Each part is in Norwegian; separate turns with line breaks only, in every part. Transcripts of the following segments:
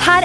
her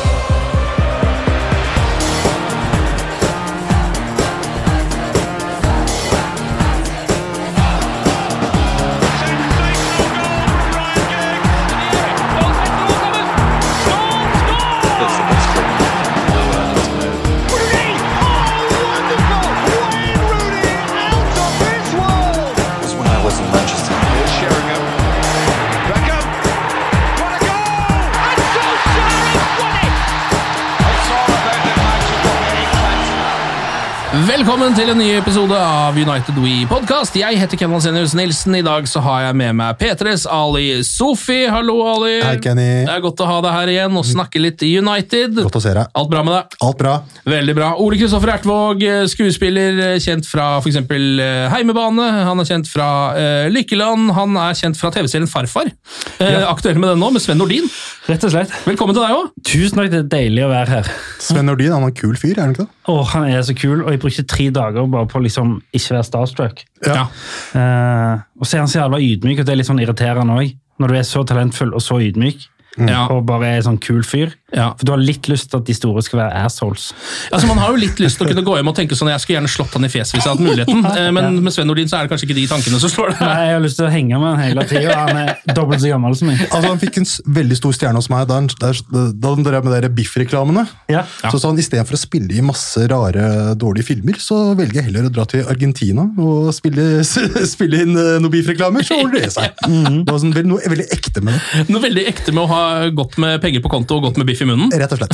Velkommen til en ny episode av United We Podcast. Jeg heter Kenneth Senius Nilsen. I dag så har jeg med meg Petres Ali Sofi. Hallo, Ali.
Hei, Kenny.
Det er godt å ha deg her igjen og snakke litt United.
Godt å se deg.
Alt bra med deg?
Alt bra.
Veldig bra. Ole Kristoffer Ertvåg, eh, skuespiller, kjent fra f.eks. Heimebane. Han er kjent fra eh, Lykkeland. Han er kjent fra TV-serien Farfar. Eh, Aktuell med den nå, med Sven Nordin.
Rett og slett.
Velkommen til deg òg.
Tusen takk, det er deilig å være her.
Sven Nordin han er en kul fyr, er han ikke det?
Å, han er så kul, og jeg brukte tre dager bare på å liksom ikke være starstruck.
Ja.
Eh, og så er han så jævla ydmyk, og det er litt sånn irriterende òg. Når du er så talentfull og så ydmyk,
Ja.
og bare er sånn kul fyr.
Mm. Ja.
For du har litt lyst til at de store skal være assholes.
Altså, Man har jo litt lyst til å kunne gå hjem og tenke sånn Jeg skulle gjerne slått han i fjeset hvis jeg hadde hatt muligheten, Eh, men med Sven Nordin så er det kanskje ikke de tankene som slår deg.
Nei, jeg har lyst til å henge med han hele tida. Han er dobbelt så gammel som meg.
Altså, Han fikk en s- veldig stor stjerne hos meg da han, da- da han drev med de der biffreklamene.
Ja.
Så sa han istedenfor å spille i masse rare, dårlige filmer, så velger jeg heller å dra til Argentina og spille, spille inn eh, noen biffreklamer, så ordner det seg.
Mhm.
Det var sånn, vel- noe veldig ekte med det,
Noe veldig ekte med å ha godt med penger på konto og godt med biff i munnen.
rett og slett.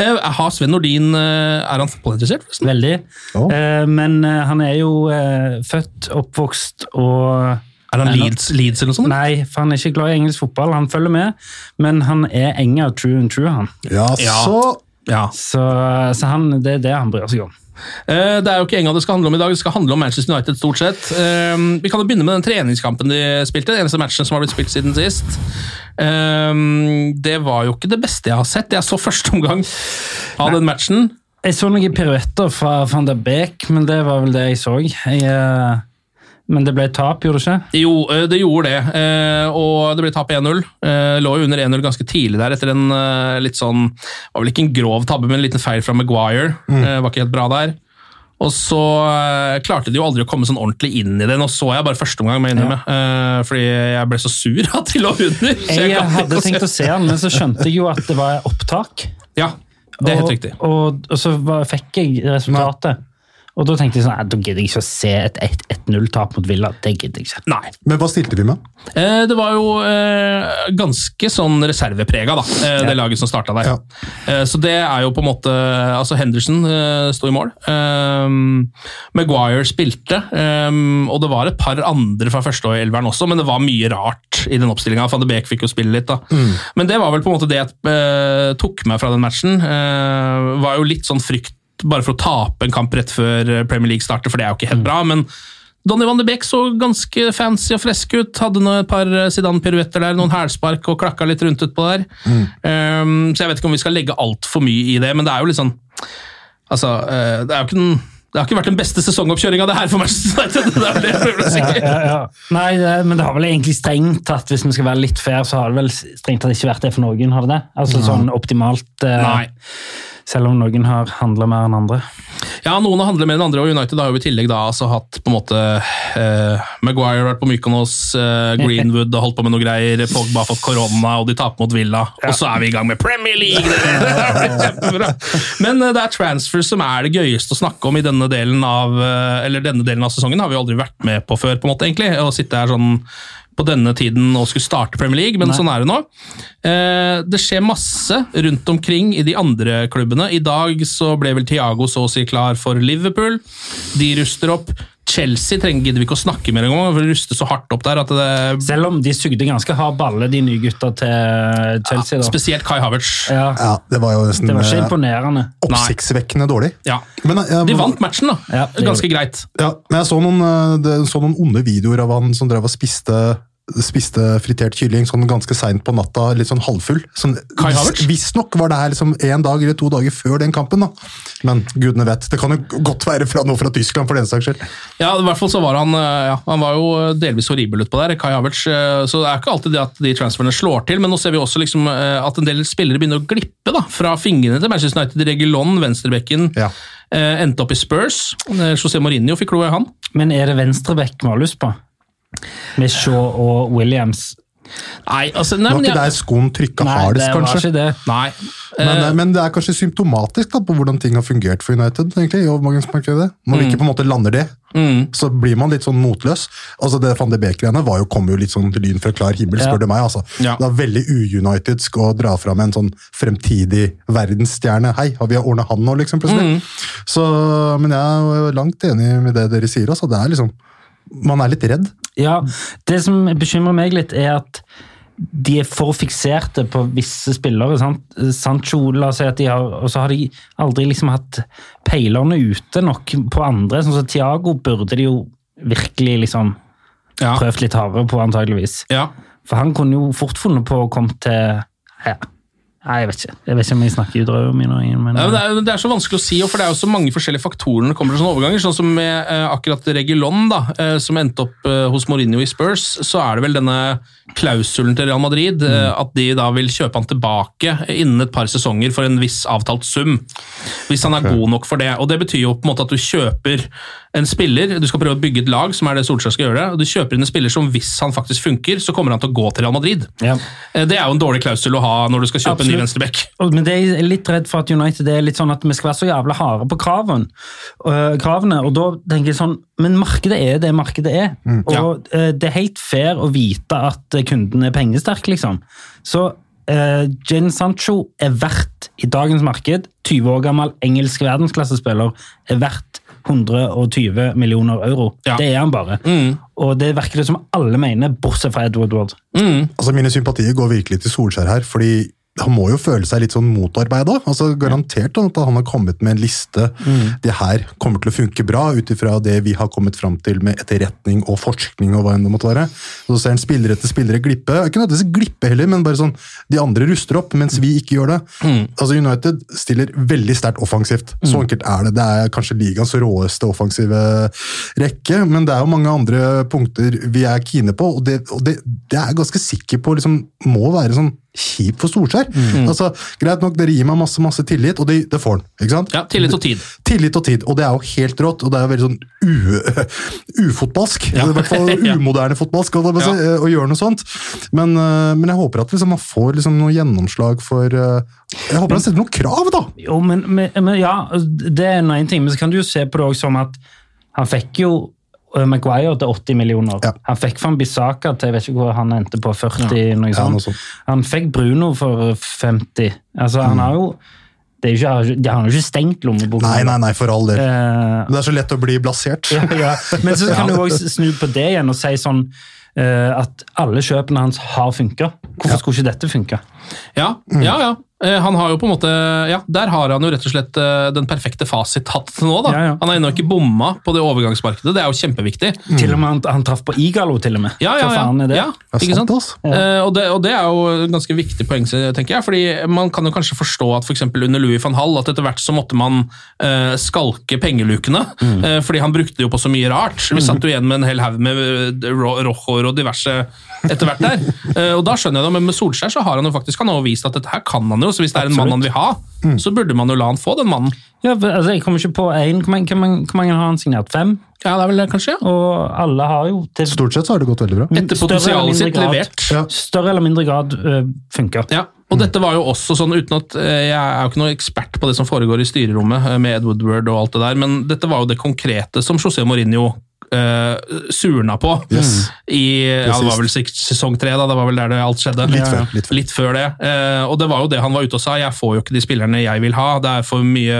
Eh, Har Sven Nordin eh, Er han fotballinteressert, forresten?
Veldig.
Ja.
Eh, men eh, han er jo eh, født, oppvokst og
Er han
Nei,
Leeds, Leeds eller noe sånt?
Nei, for han er ikke glad i engelsk fotball. Han følger med, men han er enger true and true, han.
Ja,
Ja.
så
Ja.
Så, eh, så han, det er det han bryr seg om.
Eh, Det er jo ikke engang det skal handle om i dag, det skal handle om Manchester United stort sett. Eh, Vi kan jo begynne med den treningskampen de spilte, den eneste matchen som har blitt spilt siden sist. Eh, Det var jo ikke det beste jeg har sett. Jeg så første omgang av den matchen.
Jeg så noen piruetter fra van der Beek, men det var vel det jeg så. Jeg, eh, men det ble tap, gjorde det ikke?
Jo, eh, det gjorde det, eh, og det ble tap 1-0. Eh, Lå jo under 1-0 ganske tidlig der etter en eh, litt sånn Var vel ikke en grov tabbe, men en liten feil fra Maguire.
Mm.
Eh, Var ikke helt bra der. Og så eh, klarte de jo aldri å komme sånn ordentlig inn i det. Nå så jeg bare første omgang, må jeg innrømme, eh, fordi jeg ble så sur at de lå under. så
Jeg
klarte ikke
hadde
å se-
tenkt å se han, men så skjønte jeg jo at det var opptak.
Ja, det er helt
og,
riktig.
Og, og så var, fikk jeg resultatet. Og da tenkte jeg sånn, nei, da gidder jeg ikke å se et 1-0-tap mot Villa. Det gidder jeg ikke.
Nei.
Men hva stilte vi med?
Eh, Det var jo eh, ganske sånn reserveprega, da, eh, det laget som starta der.
Ja.
Eh, Så det er jo på en måte Altså, Henderson eh, sto i mål. Ehm, Maguire spilte, ehm, og det var et par andre fra første og elveren også, men det var mye rart i den oppstillinga. Van de Beek fikk jo spille litt, da.
Mm.
Men det var vel på en måte det jeg eh, tok meg fra den matchen. Eh, Var jo litt sånn frykt bare for å tape en kamp rett før Premier League starter, for det er jo ikke
Mm.
helt bra, men Donny van de Beek så ganske fancy og fresk ut. Hadde nå et par Zidane-piruetter der, noen hælspark og klakka litt rundt utpå der.
Mm.
Um, så jeg vet ikke om vi skal legge altfor mye i det, men det er jo litt sånn Altså, eh, det er jo ikke den det har ikke vært den beste sesongoppkjøringa det her for Manchester United. Det er jo det jeg prøver å si.
Ja, ja, ja. Nei, det, men det har vel egentlig strengt tatt, hvis vi skal være litt fair, så har det vel strengt tatt ikke vært det for noen, har det det? Altså sånn optimalt, eh,
Nei.
selv om noen har handla mer enn andre.
Ja, noen handler mer enn andre, og United har jo i tillegg da altså hatt på en måte eh, Maguire har vært på Mykonos, eh, Greenwood har holdt på med noe greier, Pogba har fått korona, og de taper mot Villa. Og så er vi i gang med Premier League! dere! Det blir kjempebra. Men eh, det er transfers som er det gøyeste å snakke om i denne delen av eh, eller denne delen av sesongen, har vi jo aldri vært med på før, på en måte, egentlig. Å sitte her sånn på denne tiden og skulle starte Premier League, men sånn er det nå. Eh, det skjer masse rundt omkring i de andre klubbene. I dag så ble vel Thiago så å si klar for Liverpool. De ruster opp. Chelsea trenger gidder vi ikke å snakke mer engang, for de ruster så hardt opp der at det
Selv om de sugde ganske hard balle, de nye gutta til Chelsea. Da.
Spesielt Kai Havertz.
Ja,
Ja, det var jo nesten
det var ikke
eh,
imponerende.
oppsiktsvekkende dårlig.
Ja.
Men, eh,
De vant matchen, da.
Ja, det
Ganske greit.
Ja, men jeg så noen, eh, det- så noen onde videoer av han som drev og spiste spiste fritert kylling sånn ganske seint på natta, litt sånn halvfull. Sånn,
Kai Havertz?
Visstnok var det her liksom en dag eller to dager før den kampen, da. Men gudene vet. Det kan jo godt være fra noe fra Tyskland, for den saks skyld.
Ja, i hvert fall så var han eh, ja, Han var jo delvis horribel utpå der, Kai Havertz. eh, Så det er ikke alltid det at de transferene slår til, men nå ser vi også liksom eh, at en del spillere begynner å glippe da, fra fingrene til Manchester United. Regulon, venstrebekken,
Ja.
eh, endte opp i Spurs. Eh, José Mourinho fikk kloa i han.
Men er det venstreback vi har lyst på? Med Shaw og Williams?
Nei, altså, nei,
Det var
men
ikke der
jeg,
skoen trykka
Nei, det
hardest,
var
kanskje.
ikke det.
nei.
Men,
Eh,
eh, men det er kanskje symptomatisk da, på hvordan ting har fungert for United. egentlig, i overgangsmarkedet. Når vi
Mm.
ikke på en måte lander det, så blir man litt sånn motløs. Altså Det van de Beek-greiene var jo- kom jo litt sånn lyn fra klar himmel, spør
Ja.
du meg. altså.
Ja.
Det er veldig u-unitedsk å dra fram en sånn fremtidig verdensstjerne. Hei, har vi ordna han nå,
Mm.
liksom? plutselig? Så, Men jeg er jo langt enig med det dere sier. altså. Det er liksom, Man er litt redd.
Ja, Det som bekymrer meg litt, er at de er for fikserte på visse spillere. Sant? Sancho la oss si at de har, Og så har de aldri liksom hatt peilerne ute nok på andre. Sånn som Tiago burde de jo virkelig liksom
ja,
prøvd litt hardere på, antageligvis.
ja.
For han kunne jo fort funnet på å komme til ja. Nei, jeg vet ikke. Jeg vet ikke om jeg snakker ut røret min, men,
Ja, men det, er, det er så vanskelig å si, og for det er jo så mange forskjellige faktorer når det kommer til sånne overganger. Sånn som med eh, akkurat Regulon, da, eh, som endte opp eh, hos Mourinho i Spurs, så er det vel denne klausulen til Real Madrid, eh,
Mm.
at de da vil kjøpe han tilbake innen et par sesonger for en viss avtalt sum. Hvis han er god nok for det. Og det betyr jo på en måte at du kjøper en spiller, du skal prøve å bygge et lag, som er det Solskjær skal gjøre, og du kjøper inn en spiller som hvis han faktisk funker, så kommer han til å gå til Real Madrid.
Ja.
Eh, Det er jo en dårlig klausul å ha når du skal kjøpe en ny
Absolutt.
venstreback.
Og- men det er jeg litt redd for at United er litt sånn at vi skal være så jævla harde på kraven, øh, kravene. Og da tenker jeg sånn Men markedet er det markedet er.
Mm.
Og øh, det er helt fair å vite at øh, kunden er pengesterk, liksom. Så øh, Jadon Sancho er verdt, i dagens marked, 20 år gammel engelsk verdensklassespiller, er verdt 120 millioner euro.
Ja. Mm.
Det er han bare. Og det virker det som alle mener, bortsett fra Edward Ward.
Altså, Mine sympatier går virkelig til Solskjær her, fordi han må jo føle seg litt sånn motarbeida. Altså, garantert at han har kommet med en liste. Det her kommer til å funke bra, ut ifra det vi har kommet fram til med etterretning og forskning. og hva enn det måtte være. Så ser han spillere etter spillere glippe. Ikke nødvendigvis glippe heller, men bare sånn de andre ruster opp, mens vi ikke gjør det.
Mm.
Altså, United stiller veldig sterkt offensivt. Så enkelt er det. Det er kanskje ligaens råeste offensive rekke, men det er jo mange andre punkter vi er kine på, og det, og det, det er jeg ganske sikker på liksom, må være sånn kjipt for Solskjær.
Mm.
Altså, greit nok, dere gir meg masse, masse tillit, og det, det får han. ikke sant?
Ja, tillit og tid.
Tillit og tid, og det er jo helt rått, og det er jo veldig sånn u, ufotballsk. I hvert fall umoderne fotballsk å, å,
Ja.
å gjøre noe sånt. Men, øh, men jeg håper at liksom, man får liksom, noe gjennomslag for øh, Jeg håper han setter noen krav, da!
Jo, men, men, men ja, altså, det er nå en ting, men så kan du jo se på det også som at han fikk jo eh, Maguire til 80 millioner.
Ja.
Han fikk Van Bissaka til jeg vet ikke hvor han endte på 40, noe
Ja, noe
sånt.
sånt. Mm.
han fikk Bruno for 50. Altså, han har jo det er jo ikke, De har jo ikke stengt lommeboka.
Nei, nei, nei, for all del.
Eh,
Det er så lett å bli blasert.
ja, ja. Men så kan
Ja.
du også snu på det igjen og si sånn eh, at alle kjøpene hans har funka. Hvorfor skulle ikke dette funke?
Ja,
Mm.
ja, ja. Eh, Han har jo på en måte, ja, Der har han jo rett og slett eh, den perfekte fasit hatt til nå. da.
Ja, ja.
Han har ennå ikke bomma på det overgangsmarkedet, det er jo kjempeviktig.
Mm.
Til og med han, han traff på Igalo, til og med.
Mm. Ja, ja,
Hva
ja.
faen er det?
ja
Det er
ikke
sant,
sant?
altså.
Eh, og, det, og det er jo et ganske viktig poeng, tenker jeg. fordi Man kan jo kanskje forstå at for eksempel under Louis van Hall at etter hvert så måtte man eh, skalke pengelukene. eh, fordi han brukte det jo på så mye rart. Vi satt jo igjen med en hel haug med eh, ro- rojoer og diverse etter hvert der. Eh, og da skjønner jeg det, men med Solskjær så har han jo faktisk han har jo vist at dette her kan han jo, jo, så hvis det er en mann han vil ha, så burde man jo la han få den mannen.
Ja, for, altså, jeg kommer ikke på én. Hvor mange- hvor mange hvor mange har han signert? Fem?
Ja, det er vel det, kanskje. ja.
Og alle har jo til
Stort sett så har det gått veldig bra.
min-
Etter
større eller mindre
potensialet sitt
grad-
levert.
Ja.
Større eller mindre grad øh, funker.
Ja, og dette var jo også sånn, uten at eh, jeg er jo ikke noen ekspert på det som foregår i styrerommet eh, med Ed Woodward og alt det der, men dette var jo det konkrete som José Mourinho eh, surna på
Yes.
i ja, det var vel sik- sesong tre, da, det var vel der det alt skjedde.
Litt før, litt før.
det. Eh, og det var jo det han var ute og sa, jeg får jo ikke de spillerne jeg vil ha, det er for mye,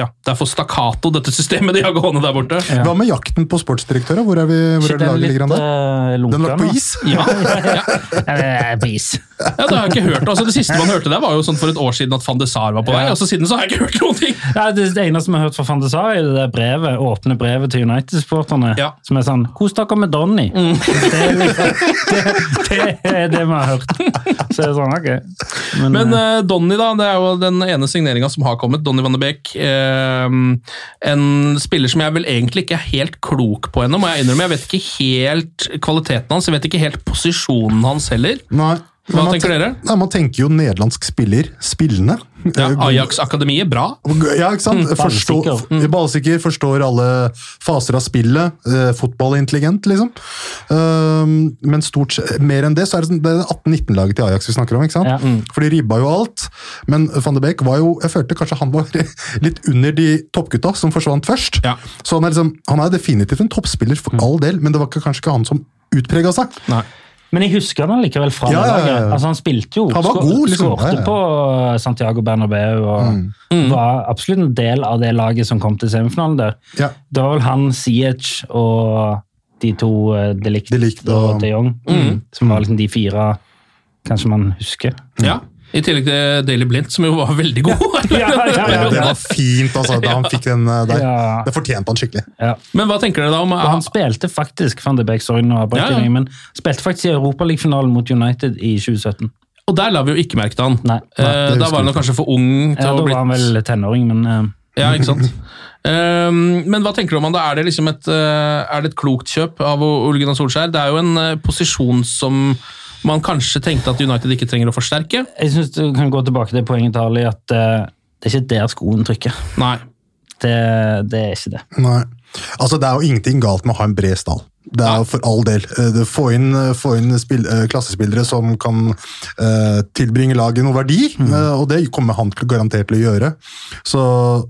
ja, det er for stakkato dette systemet de har gående der borte.
Hva med jakten på sportsdirektører? Hvor er, vi, hvor er det laget ligger an der?
øh, lunken,
Den lå på is?
Ja, ja,
Eh, på is.
ja, det har jeg ikke hørt. Altså, det siste man hørte der var jo sånn for et år siden at Van de Sar var på vei, og så siden så har jeg ikke hørt noen ting.
Ja, det, det eneste vi har hørt fra Fantesar, er det der brevet, åpne brevet til United-supporterne.
Ja. Mm.
Som er sånn 'Kos dere med Donny'. Det, er liksom- det, det er det vi har hørt. Så er det sånn, ok. Men,
Men
eh,
eh, Donny, da. Det er jo den ene signeringa som har kommet. Donny van de Beek. eh, en spiller som jeg vel egentlig ikke er helt klok på ennå, må jeg innrømme. Jeg vet ikke helt kvaliteten hans, jeg vet ikke helt posisjonen hans heller.
Nei.
Hva
Men man
tenker
ten-
dere?
Nei, man tenker jo nederlandsk spiller spillende.
Ja,
Eh, god-
Ajax-akademiet, bra.
Ja, ikke sant? Forstå,
ballsikker.
Ballsikker, forstår alle faser av spillet. eh, Fotballintelligent, liksom. Ehm, men stort sett, mer enn det, så er det, sånn- det er 18-19-laget til Ajax vi snakker om. ikke sant?
Ja.
For de ribba jo alt. Men van de Beek var jo Jeg følte kanskje han var litt under de toppgutta som forsvant først.
Ja.
Så han er, liksom, han er definitivt en toppspiller for all del, men det var ikke- kanskje ikke han som utprega seg.
Nei.
men jeg husker han likevel fra
Ja,
det
ja, ja, ja.
laget. Altså, han spilte jo.
Han var
skå-
god, liksom.
skårte
Ja, Mm. ja.
på eh, Santiago Bernabeu og var absolutt en del av det laget som kom til semifinalen der.
Ja.
Det var vel han, Siech og de to eh, De Ligt,
De Ligt og-
og De Jong,
Mm.
som var liksom de fire kanskje man husker.
Ja. I tillegg til Daily Blint, som jo var veldig god.
Ja, ja, ja,
Ja,
ja.
det var fint altså, da han fikk den eh, der.
Ja.
Det fortjente han skikkelig.
Ja.
Men hva tenker dere da om Ah.
Og han spilte faktisk Van de Beek, sorry, nå avbrøt
Ja, ja.
jeg deg, men han spilte faktisk i Europaligafinalen mot United i 2017.
Og der la vi jo ikke merke til han.
Nei.
Eh,
Nei, det
da var han
husker
jo kanskje for ung til
Ja,
å
da
ha
var han
blitt
vel tenåring, men eh,
Ja, ikke sant? Ehm, men hva tenker du om han? da? Er det, liksom et, eh, er det et klokt kjøp av Ole Gunnar Solskjær? Det er jo en eh, posisjon som man kanskje tenkte at United ikke trenger å forsterke.
jeg syns du kan gå tilbake til poenget til Ali at eh, det er ikke der skoen trykker.
Nei.
Det, det er ikke det.
Nei. Altså, det er jo ingenting galt med å ha en bred stall. Det er jo for all del. Eh, det- Få inn, eh, få inn spill, eh, klassespillere som kan eh, tilbringe laget noe verdi,
Mm.
eh, og det kommer han til, garantert til å gjøre. Så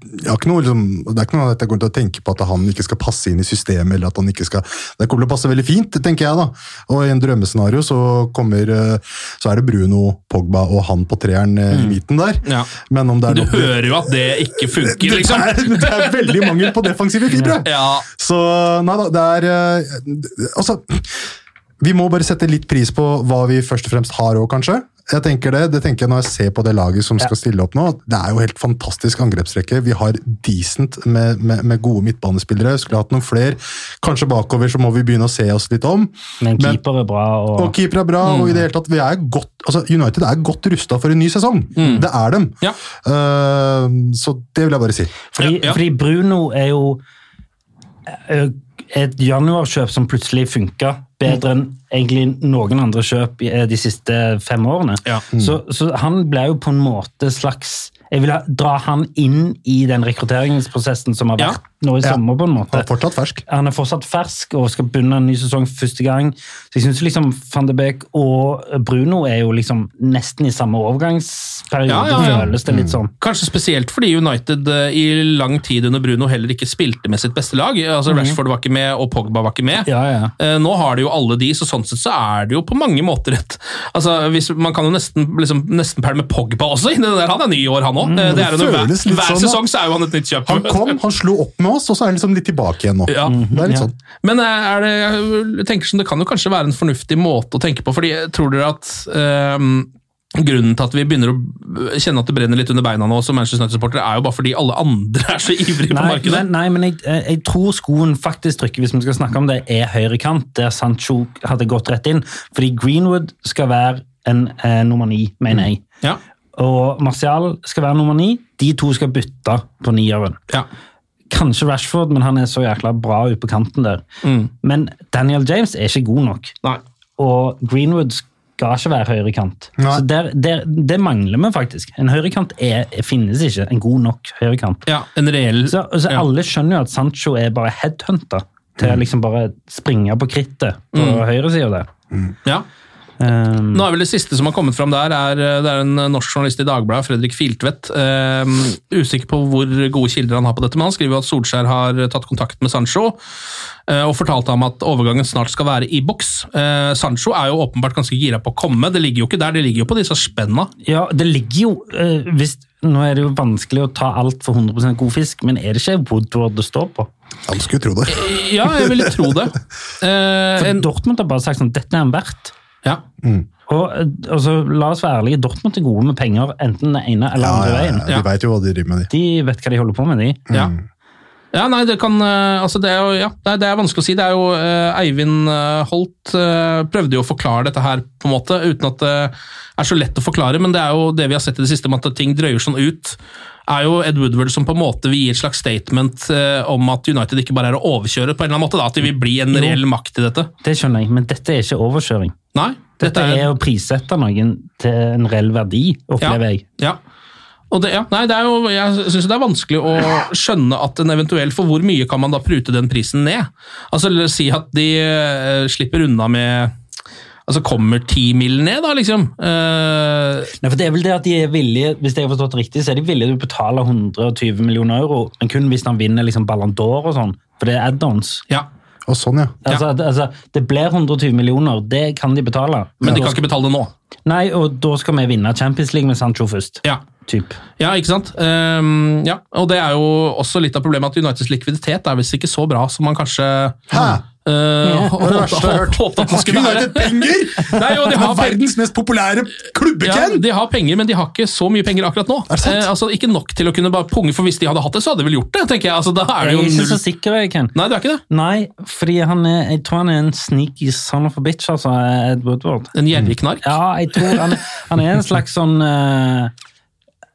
jeg har ikke noe, liksom, det er ikke noe at jeg kommer til å tenke på at han ikke skal passe inn i systemet. eller at han ikke skal, Det kommer til å passe veldig fint, tenker jeg. da. Og I en drømmescenario så, kommer, eh, så er det Bruno, Pogba og han på treeren eh, i midten der.
Mm. Ja.
Men om det er
Du
nok-
hører jo at det ikke funker,
det
liksom.
er, det er veldig mangel på defensive fibre.
Ja.
Så nei da, det er eh, Altså, vi må bare sette litt pris på hva vi først og fremst har òg, kanskje. Jeg tenker det, det tenker jeg Når jeg ser på det laget som skal stille opp nå, at det er jo helt fantastisk angrepsrekke. Vi har decent med, med, med gode midtbanespillere. Skulle hatt noen flere. Kanskje bakover så må vi begynne å se oss litt om.
Men keeper er bra. Og,
Og keeper er bra, og i det hele tatt, vi er godt, altså United er godt rusta for en ny sesong.
Mm.
Det er dem.
Ja.
Eh, så det vil jeg bare si.
fordi,
Ja, ja.
fordi Bruno er jo eh, et januarkjøp som plutselig funka bedre enn egentlig noen andre kjøp i, eh, de siste fem årene.
Ja.
Så, så han ble jo på en måte slags Jeg vil ha- dra han inn i den rekrutteringsprosessen som har
Ja.
vært nå i sommer, på en måte.
Han er fortsatt fersk.
Han er fortsatt fersk og skal begynne en ny sesong for første gang. Så jeg synes liksom Van de Beek og Bruno er jo liksom nesten i samme overgangsperiode,
Ja, ja, ja.
føles det litt sånn.
Mm. Kanskje spesielt fordi United eh, i lang tid under Bruno heller ikke spilte med sitt beste lag. Altså Rashford var ikke med, og Pogba var ikke med.
Mhm. Ja, ja.
Eh, Nå har de jo alle de, så sånn sett så er det jo på mange måter et altså, hvis, Man kan jo nesten, liksom, nesten pælme Pogba også. i det Der, han er ny i år, han
Mm.
òg. hver
det føles litt
hver
sånn, da.
sesong så er jo han et nytt kjøp.
Han kom, han slo opp med oss, og så er han liksom litt tilbake igjen nå.
Ja.
Det
Mhm,
er litt sånn.
Men eh, er det, jeg tenker sånn, det kan jo kanskje være en fornuftig måte å tenke på, fordi eh, tror dere at ehm, Grunnen til at vi begynner å kjenne at det brenner litt under beina nå, som Manchester United-supportere, er jo bare fordi alle andre er så ivrige på
Nei,
markedet.
men, nei, men jeg, eh, jeg tror skoen faktisk trykker, hvis vi skal snakke om det, er høyre kant, der Sancho hadde gått rett inn. Fordi Greenwood skal være en eh, nummer ni, mener jeg.
Ja,
Og Martial skal være nummer ni. De to skal bytte på nieren.
ja.
Kanskje Rashford, men han er så jækla bra ute på kanten der. Men Daniel James er ikke god nok.
Mm. Nei.
Og Greenwood skal ikke være høyrekant.
Nei.
Så der, der, Det mangler vi faktisk. En høyrekant er, finnes ikke. En god nok høyrekant.
Ja, en reell
Så, så
ja. Mm.
Alle skjønner jo at Sancho er bare headhunter til å liksom bare springe på krittet på høyresida der.
ja.
Um,
Nå er vel Det siste som har kommet fram der, er, eh, det er en norsk journalist i Dagbladet, Fredrik Filtvedt. Eh, usikker på hvor gode kilder han har på dette, men han skriver jo at Solskjær har tatt kontakt med Sancho eh, og fortalte ham at overgangen snart skal være i boks. Eh, Sancho er jo åpenbart ganske gira på å komme, det ligger jo ikke der, det ligger jo på disse spenna.
Ja, det ligger jo eh, hvis, Nå er det jo vanskelig å ta alt for 100 god fisk, men er det ikke Woodward det står på?
Ja, du skulle tro det.
Ja, jeg ville tro det. Eh,
For
en,
Dortmund har bare sagt sånn, dette er han verdt.
ja.
Og eh, altså, la oss være ærlige, Dortmund er gode med penger enten den ene eller
Ja,
andre
ja,
veien.
ja. De veit jo hva de driver med, de.
De vet hva de holder på med, de.
Ja. ja, nei, det kan eh, Altså, det er jo ja, nei, det er vanskelig å si. Det er jo eh, Eivind eh, Holt eh, prøvde jo å forklare dette her, på en måte, uten at det er så lett å forklare, men det er jo det vi har sett i det siste, med at ting drøyer sånn ut. Er jo Ed Woodward som på en måte vil gi et slags statement eh, om at United ikke bare er å overkjøre, på en eller annen måte, da, at de vil bli en
Jo.
reell makt i dette.
Det skjønner jeg, men dette er ikke overkjøring.
Nei,
Dette er å prissette noen til en reell verdi, opplever jeg.
Ja. Og det, ja, nei, det er jo, jeg syns det er vanskelig å skjønne at en eventuell For hvor mye kan man da prute den prisen ned? Altså, la oss si at de eh, slipper unna med Altså kommer ti mil ned, da, liksom? Eh,
Nei, for det er vel det at de er villige, Hvis jeg har forstått det riktig, så er de villige til å betale 120 millioner euro, men kun hvis han vinner liksom Ballon d'Or og sånn, for det er add-ons.
ja.
Og sånn, ja.
Altså, det- altså, det blir 120 millioner, det kan de betale.
Men de
da
kan ikke betale det nå.
skal- Nei, og da skal vi vinne Champions League med Sancho først.
Ja.
Typ.
Ja, ikke sant? Ehm, ja, og det er jo også litt av problemet at Uniteds likviditet er visst ikke så bra som man kanskje
Hæ?
eh,
Det er det
håpet
verste jeg har hørt.
håpet at man
Skulle
skulle være.
United penger?!
Nei, jo, de har
Verdens mest populære klubbe,
Ja,
Ken!
de har penger, men de har ikke så mye penger akkurat nå.
Er det sant?
Eh, altså, Ikke nok til å kunne bare punge, for hvis de hadde hatt det, så hadde de vel gjort det. tenker jeg. Altså, da er
Jeg
det
er
jo
ikke så
null...
sikker, jeg, Ken.
Nei, det er ikke det.
Nei, fordi han er, jeg tror han er en sneaky son of a bitch, altså, Ed Woodward.
En gjerrig knark.
Ja, jeg tror han, han er en slags sånn eh,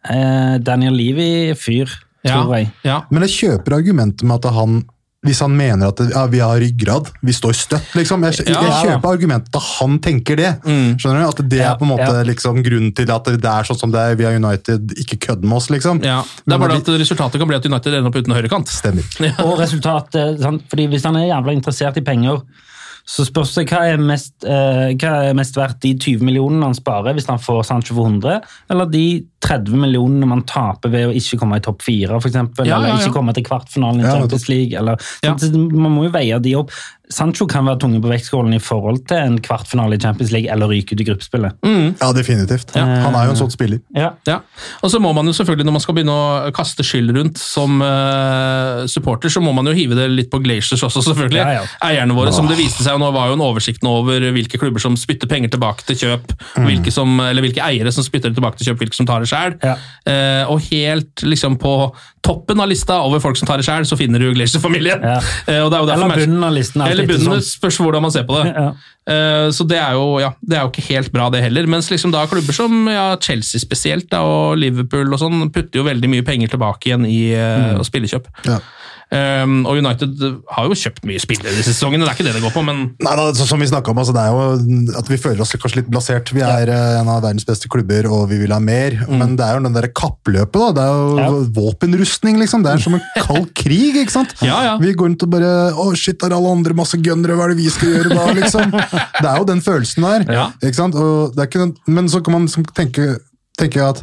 eh, Daniel Levy-fyr, tror jeg.
Ja.
Men jeg kjøper argumentet med at han hvis han mener at ja, vi har ryggrad, vi står støtt, liksom. Jeg, jeg,
Ja,
jeg
ja,
ja.
kjøper argumentet at han tenker det.
Mm.
Skjønner du? At det
Ja,
er på en måte
ja.
liksom, grunnen til at det er sånn som det er. Vi er United, ikke kødd med oss, liksom.
ja. Det
Men
er bare
når
det at resultatet kan bli at United ender opp uten høyrekant.
Stemmer.
Og resultatet sant? Fordi Hvis han er jævla interessert i penger, så spørs det hva er mest, eh, hva er mest verdt de 20 millionene han sparer hvis han får Sancho for 100, eller de 30 millionene man taper ved å ikke komme i topp fire, f.eks., eksempel,
Ja, ja,
eller
ja.
ikke komme til kvartfinalen i
Ja,
Champions League. Eller,
Ja.
sant? Man må jo veie de opp. Sancho kan være tunge på vektskålen i forhold til en kvartfinale i Champions League eller ryke ut i gruppespillet.
Ja, definitivt.
Ja.
Han er jo en sånn spiller.
Ja.
Ja. Og så må man jo selvfølgelig, når man skal begynne å kaste skyld rundt som eh, supporter, så må man jo hive det litt på Glaciers også, selvfølgelig.
Ja, ja.
Eierne våre, som det viste seg nå, var jo en oversikt nå over hvilke klubber som spytter penger tilbake til kjøp,
Mm.
hvilke, som, eller hvilke eiere som spytter det tilbake til kjøp, hvilke som tar det sjøl.
Ja.
Eh, og helt liksom på toppen av lista over folk som tar det sjøl, så finner du Glacier-familien.
Ja.
Eh, og det er jo derfor
Eller
Manchester-
bunnen av listen. alt
eller
etter
bunnen,
sånn.
det spørs hvordan man ser på det.
Ja.
Eh, Så det er, jo, ja, det er jo ikke helt bra, det heller. Mens liksom da klubber som ja, Chelsea spesielt da, og Liverpool og sånn, putter jo veldig mye penger tilbake igjen i eh, å spillekjøp.
Ja.
Um, og United har jo kjøpt mye spillere disse sesongene, det er ikke det det går på, men
Nei, da, så, som vi snakket om, altså, det er jo at vi føler oss kanskje litt blasert. Vi er eh, en av verdens beste klubber, og vi vil ha mer.
Mm.
Men det er jo den der kappløpet, da. Det er jo våpenrustning, liksom. Det er som en kald krig, ikke sant?
Ja, ja.
Vi går rundt og bare Å, shit, er alle andre masse gønnere, hva er det vi skal gjøre da, liksom? Det er jo den følelsen der.
Ja.
Ikke sant? Og det er ikke den, men så kan man liksom tenke, tenke at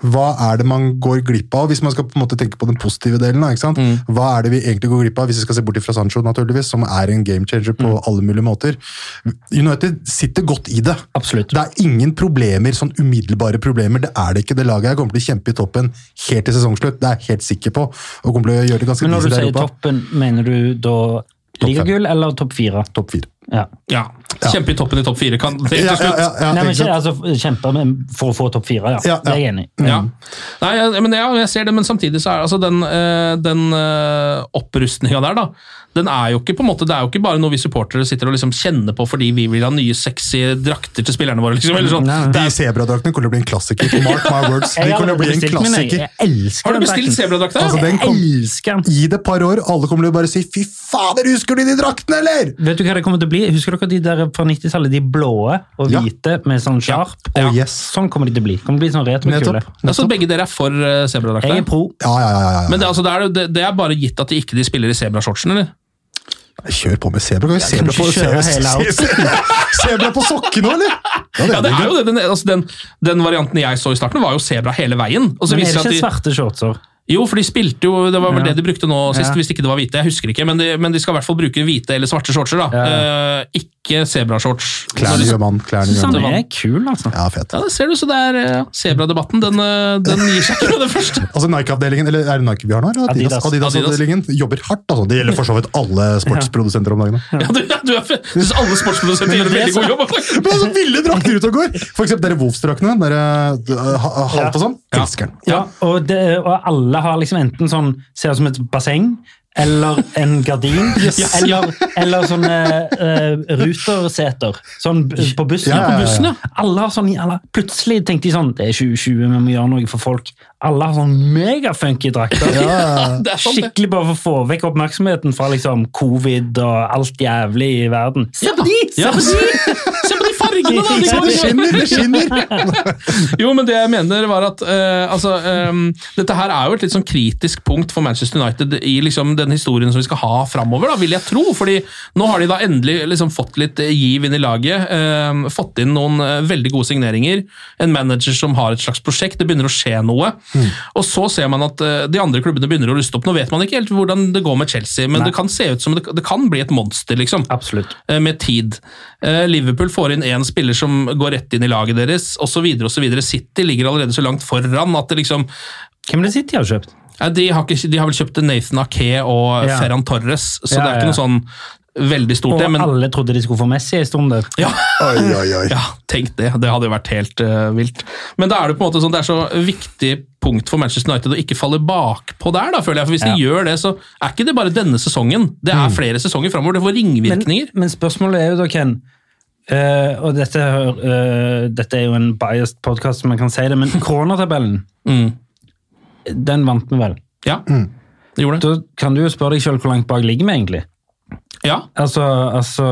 hva er det man går glipp av, hvis man skal på en måte tenke på den positive delen? da, ikke sant?
Mm.
Hva er det vi egentlig går glipp av, hvis vi skal se bort fra Sancho, naturligvis, som er en game changer på
Mm.
alle mulige måter? United sitter godt i det.
Absolutt.
Det er ingen problemer, sånn umiddelbare problemer. Det er det ikke. Det laget her kommer til å kjempe i toppen helt til sesongslutt. Det er jeg helt sikker på. Og kommer til å gjøre det ganske
Men når du
decent i
sier
Europa.
toppen, mener du da ligagull eller topp fire?
Topp fire.
Ja.
ja. Kjempe i toppen i topp fire, kan det
Ja,
til
ja,
slutt.
ja, ja,
Nei, men
ikke
ikke,
sant?
altså, kjempe med- for å få topp fire, ja.
Ja,
Det er jeg
ja.
enig i.
Ja. Nei, jeg- men ja, jeg ser det, men samtidig så er altså den, eh, den opprustninga der, da. Den er jo ikke på en måte, Det er jo ikke bare noe vi supportere sitter og liksom kjenner på fordi vi vil ha nye sexy drakter til spillerne våre. liksom, eller sånn.
Nei, nei.
De zebradraktene kommer til å bli en klassiker. Mark my words. De
Jeg har
kommer til å bli en
bestilt min, jeg.
klassiker.
Jeg elsker
Har du
den
bestilt
drakten.
zebradrakt? da?
Altså, den
Jeg
kom-
elsker den.
Gi det et par år, alle kommer til å bare si 'fy fader, husker du de draktene', eller?!
Vet du hva det kommer til å bli? de, husker dere de der fra 90-tallet? De blåe og
Ja.
hvite med sånn sharp?
Ja. Oh,
Ja.
yes.
Sånn kommer de til å bli. Kommer til å bli sånn retrokule.
Nettopp.
Altså,
nettopp.
begge dere er for eh, sebradrakta?
Jeg er pro.
Ja, ja, ja, ja, ja.
Men det, altså, det, er, jo- det, det er bare gitt at de ikke de spiller i zebrashortsen, eller?
Kjør på med sebra. Kan vi sebra
ikke
på,
kjøre hele
se- se- sebra på sokkene, eller?
Ja, det er jo det. Den, altså, den, den varianten jeg så i starten, var jo sebra hele veien. Og så
Men er
viser
det ikke
det seg at de,
svarte shortser?
jo, for de spilte jo Det var vel
Ja.
det de brukte nå sist,
Ja.
hvis ikke det var hvite. Jeg husker ikke, men de, men de skal i hvert fall bruke hvite eller svarte shortser. da. Eh, ikke zebrashorts.
Klærne gjør mann, klærne gjør
Sånn
mann.
er kul, altså.
Ja, fet.
Ja, det ser du, så det er eh, Zebradebatten, den, eh, den gir seg ikke med det første.
Altså Nike-avdelingen, eller er det Nike vi har nå? eller Adidas.
Adidas.
Adidas-avdelingen jobber hardt. altså. Det gjelder for så vidt alle sportsprodusenter om dagen.
Ja, du, du er, jeg synes alle sportsprodusenter gjør en veldig god jobb. altså.
Men altså, Ville drakter ut og går! For eksempel dere Wolfs-draktene. Dere uh, ha- halv på sånn.
Ja.
Elsker den.
Ja, og, det, og alle har liksom enten sånn Ser ut som et basseng, eller en gardin, eller, eller sånne eh, ruterseter. Sånn b- på bussen.
Ja, ja, ja, ja.
På bussen, ja. Alle har sånn, alle, plutselig tenkte de sånn Det er 2020, vi må gjøre noe for folk. Alle har sånn megafunky drakter.
Det er sant, det.
Skikkelig bare for å få vekk oppmerksomheten fra liksom covid og alt jævlig i verden. Se på de! Se
Ja,
på de!
Se på de fargene, da!
Se,
Det skinner! det skinner!
Jo, men det jeg mener var at eh, altså, ehm, Dette her er jo et litt sånn kritisk punkt for Manchester United i liksom, den historien som vi skal ha framover, da, vil jeg tro. fordi nå har de da endelig liksom, fått litt eh, giv inn i laget. ehm, fått inn noen eh, veldig gode signeringer. En manager som har et slags prosjekt. Det begynner å skje noe. Og så ser man at eh, de andre klubbene begynner å ruste opp. Nå vet man ikke helt hvordan det går med Chelsea, men det kan se ut som det, det kan bli et monster, liksom
Absolutt.
eh, med tid. Eh, Liverpool får inn én spiller som går rett inn i laget deres, osv. City ligger allerede så langt foran at det liksom
Hvem er det City har kjøpt?
eh, De har, ikke, de har vel kjøpt Nathan Ake og
Ja.
Ferran Torres, så
Ja,
det er
ja.
ikke noe sånn veldig stort,
Og
det. Men
alle trodde de skulle få Messi en stund der.
ja,
Oi, oi, oi.
ja, tenk det. Det hadde jo vært helt eh, vilt. Men da er det på en måte sånn, det er så viktig punkt for Manchester United å ikke falle bakpå der, da, føler jeg. For hvis de gjør det, så er ikke det bare denne sesongen. Det er flere sesonger framover. Det får ringvirkninger.
Mm. Men, men spørsmålet er jo da, Ken eh, Og dette, hør- eh, dette er jo en biased podkast, man kan si det, men koronatabellen,
Mm.
den vant vi vel?
Ja, det gjorde det.
Da kan Mm. du jo spørre deg sjøl hvor langt bak ligger vi egentlig?
Ja.
Altså, altså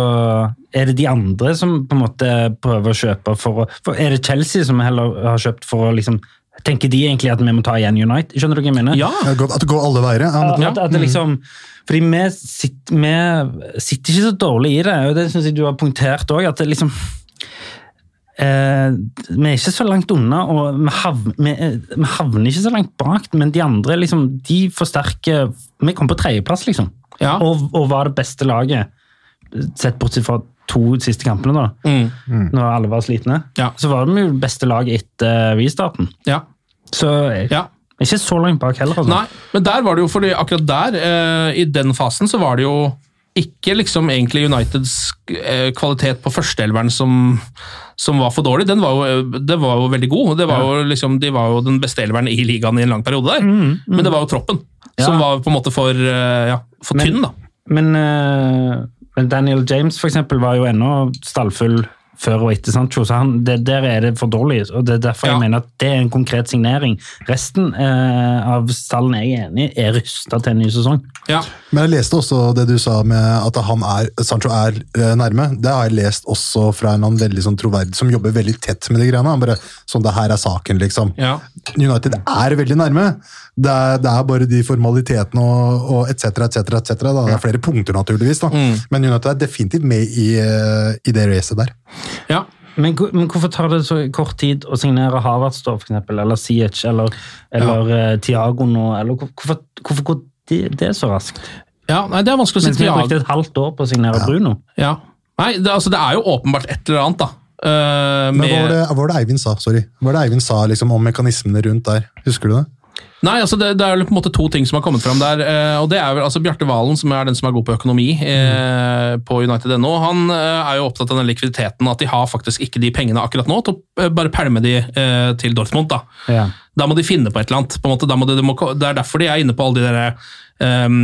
Er det de andre som på en måte prøver å kjøpe for å for Er det Chelsea som heller har kjøpt for å liksom Tenker de egentlig at vi må ta igjen United? Skjønner du hva jeg mener?
ja.
Det er godt At det går alle veier. Ja, men-
At, at det liksom, fordi vi sitter, vi sitter ikke så dårlig i det, og det syns jeg du har punktert òg. At det liksom eh, Vi er ikke så langt unna, og vi, hav, vi, eh, vi havner ikke så langt bak. Men de andre liksom, de forsterker Vi kom på tredjeplass, liksom.
Ja.
Og, og var det beste laget, sett bortsett fra to siste kampene, da.
Mm.
Når alle var slitne.
Ja.
Så var vi jo det beste laget etter restarten.
Ja.
Så jeg,
ja.
jeg er ikke så langt bak heller. Altså.
Nei, men der var det jo fordi akkurat der, eh, i den fasen, så var det jo ikke liksom egentlig Uniteds eh, kvalitet på førsteelveren som, som var for dårlig. Den var jo, eh, det var jo veldig god. Det var jo liksom, de var jo den beste elveren i ligaen i en lang periode der. Men det var jo troppen
Mm,
som
Ja.
var på en måte for, eh, ja, for
Men-
tynn, da.
Men, eh, men Daniel James for eksempel var jo ennå stallfull før og etter Sancho, så han, det, der er det for dårlig. og Det er derfor
Ja.
jeg mener at det er en konkret signering. Resten eh, av stallen jeg er enig i, er rusta til en ny sesong.
Ja.
Men jeg leste også det du sa med at han er, Sancho er eh, nærme. Det har jeg lest også fra en annen veldig sånn troverdig som jobber veldig tett med de greiene. Han bare, sånn, det her er saken, liksom.
Ja.
United er veldig nærme. Det er, det er bare de formalitetene og, og et cetera, et cetera, et cetera, da. Det er flere punkter, naturligvis. Da. Men United er definitivt med i, eh, i det racet der.
ja.
Men, hvor- men hvorfor tar det så kort tid å signere Havertz, da, for eksempel, eller Siech, eller, eller eh, Thiago nå? Eller, hvor- hvorfor, hvorfor går det, det så raskt?
ja. Nei, det er vanskelig å si.
Mens vi har
Thiago.
brukt et halvt år på å signere Bruno.
Ja. Nei, det, altså, det er jo åpenbart et eller annet, da. Eh,
Men
med-
hva var det, hva var det Eivind sa, sorry? Hva var det Eivind sa liksom, om mekanismene rundt der? Husker du det?
Nei, altså det, det er jo på en måte to ting som har kommet fram der. eh, og det er vel altså Bjarte Valen, som er den som er god på økonomi eh, på United.no, han eh, er jo opptatt av den likviditeten, at de har faktisk ikke de pengene akkurat nå til å eh, bare pælme de eh, til Dortmund. da.
Ja.
Da må de finne på et eller annet. på en måte, da må de, de må, ko- Det er derfor de er inne på alle de der, ehm,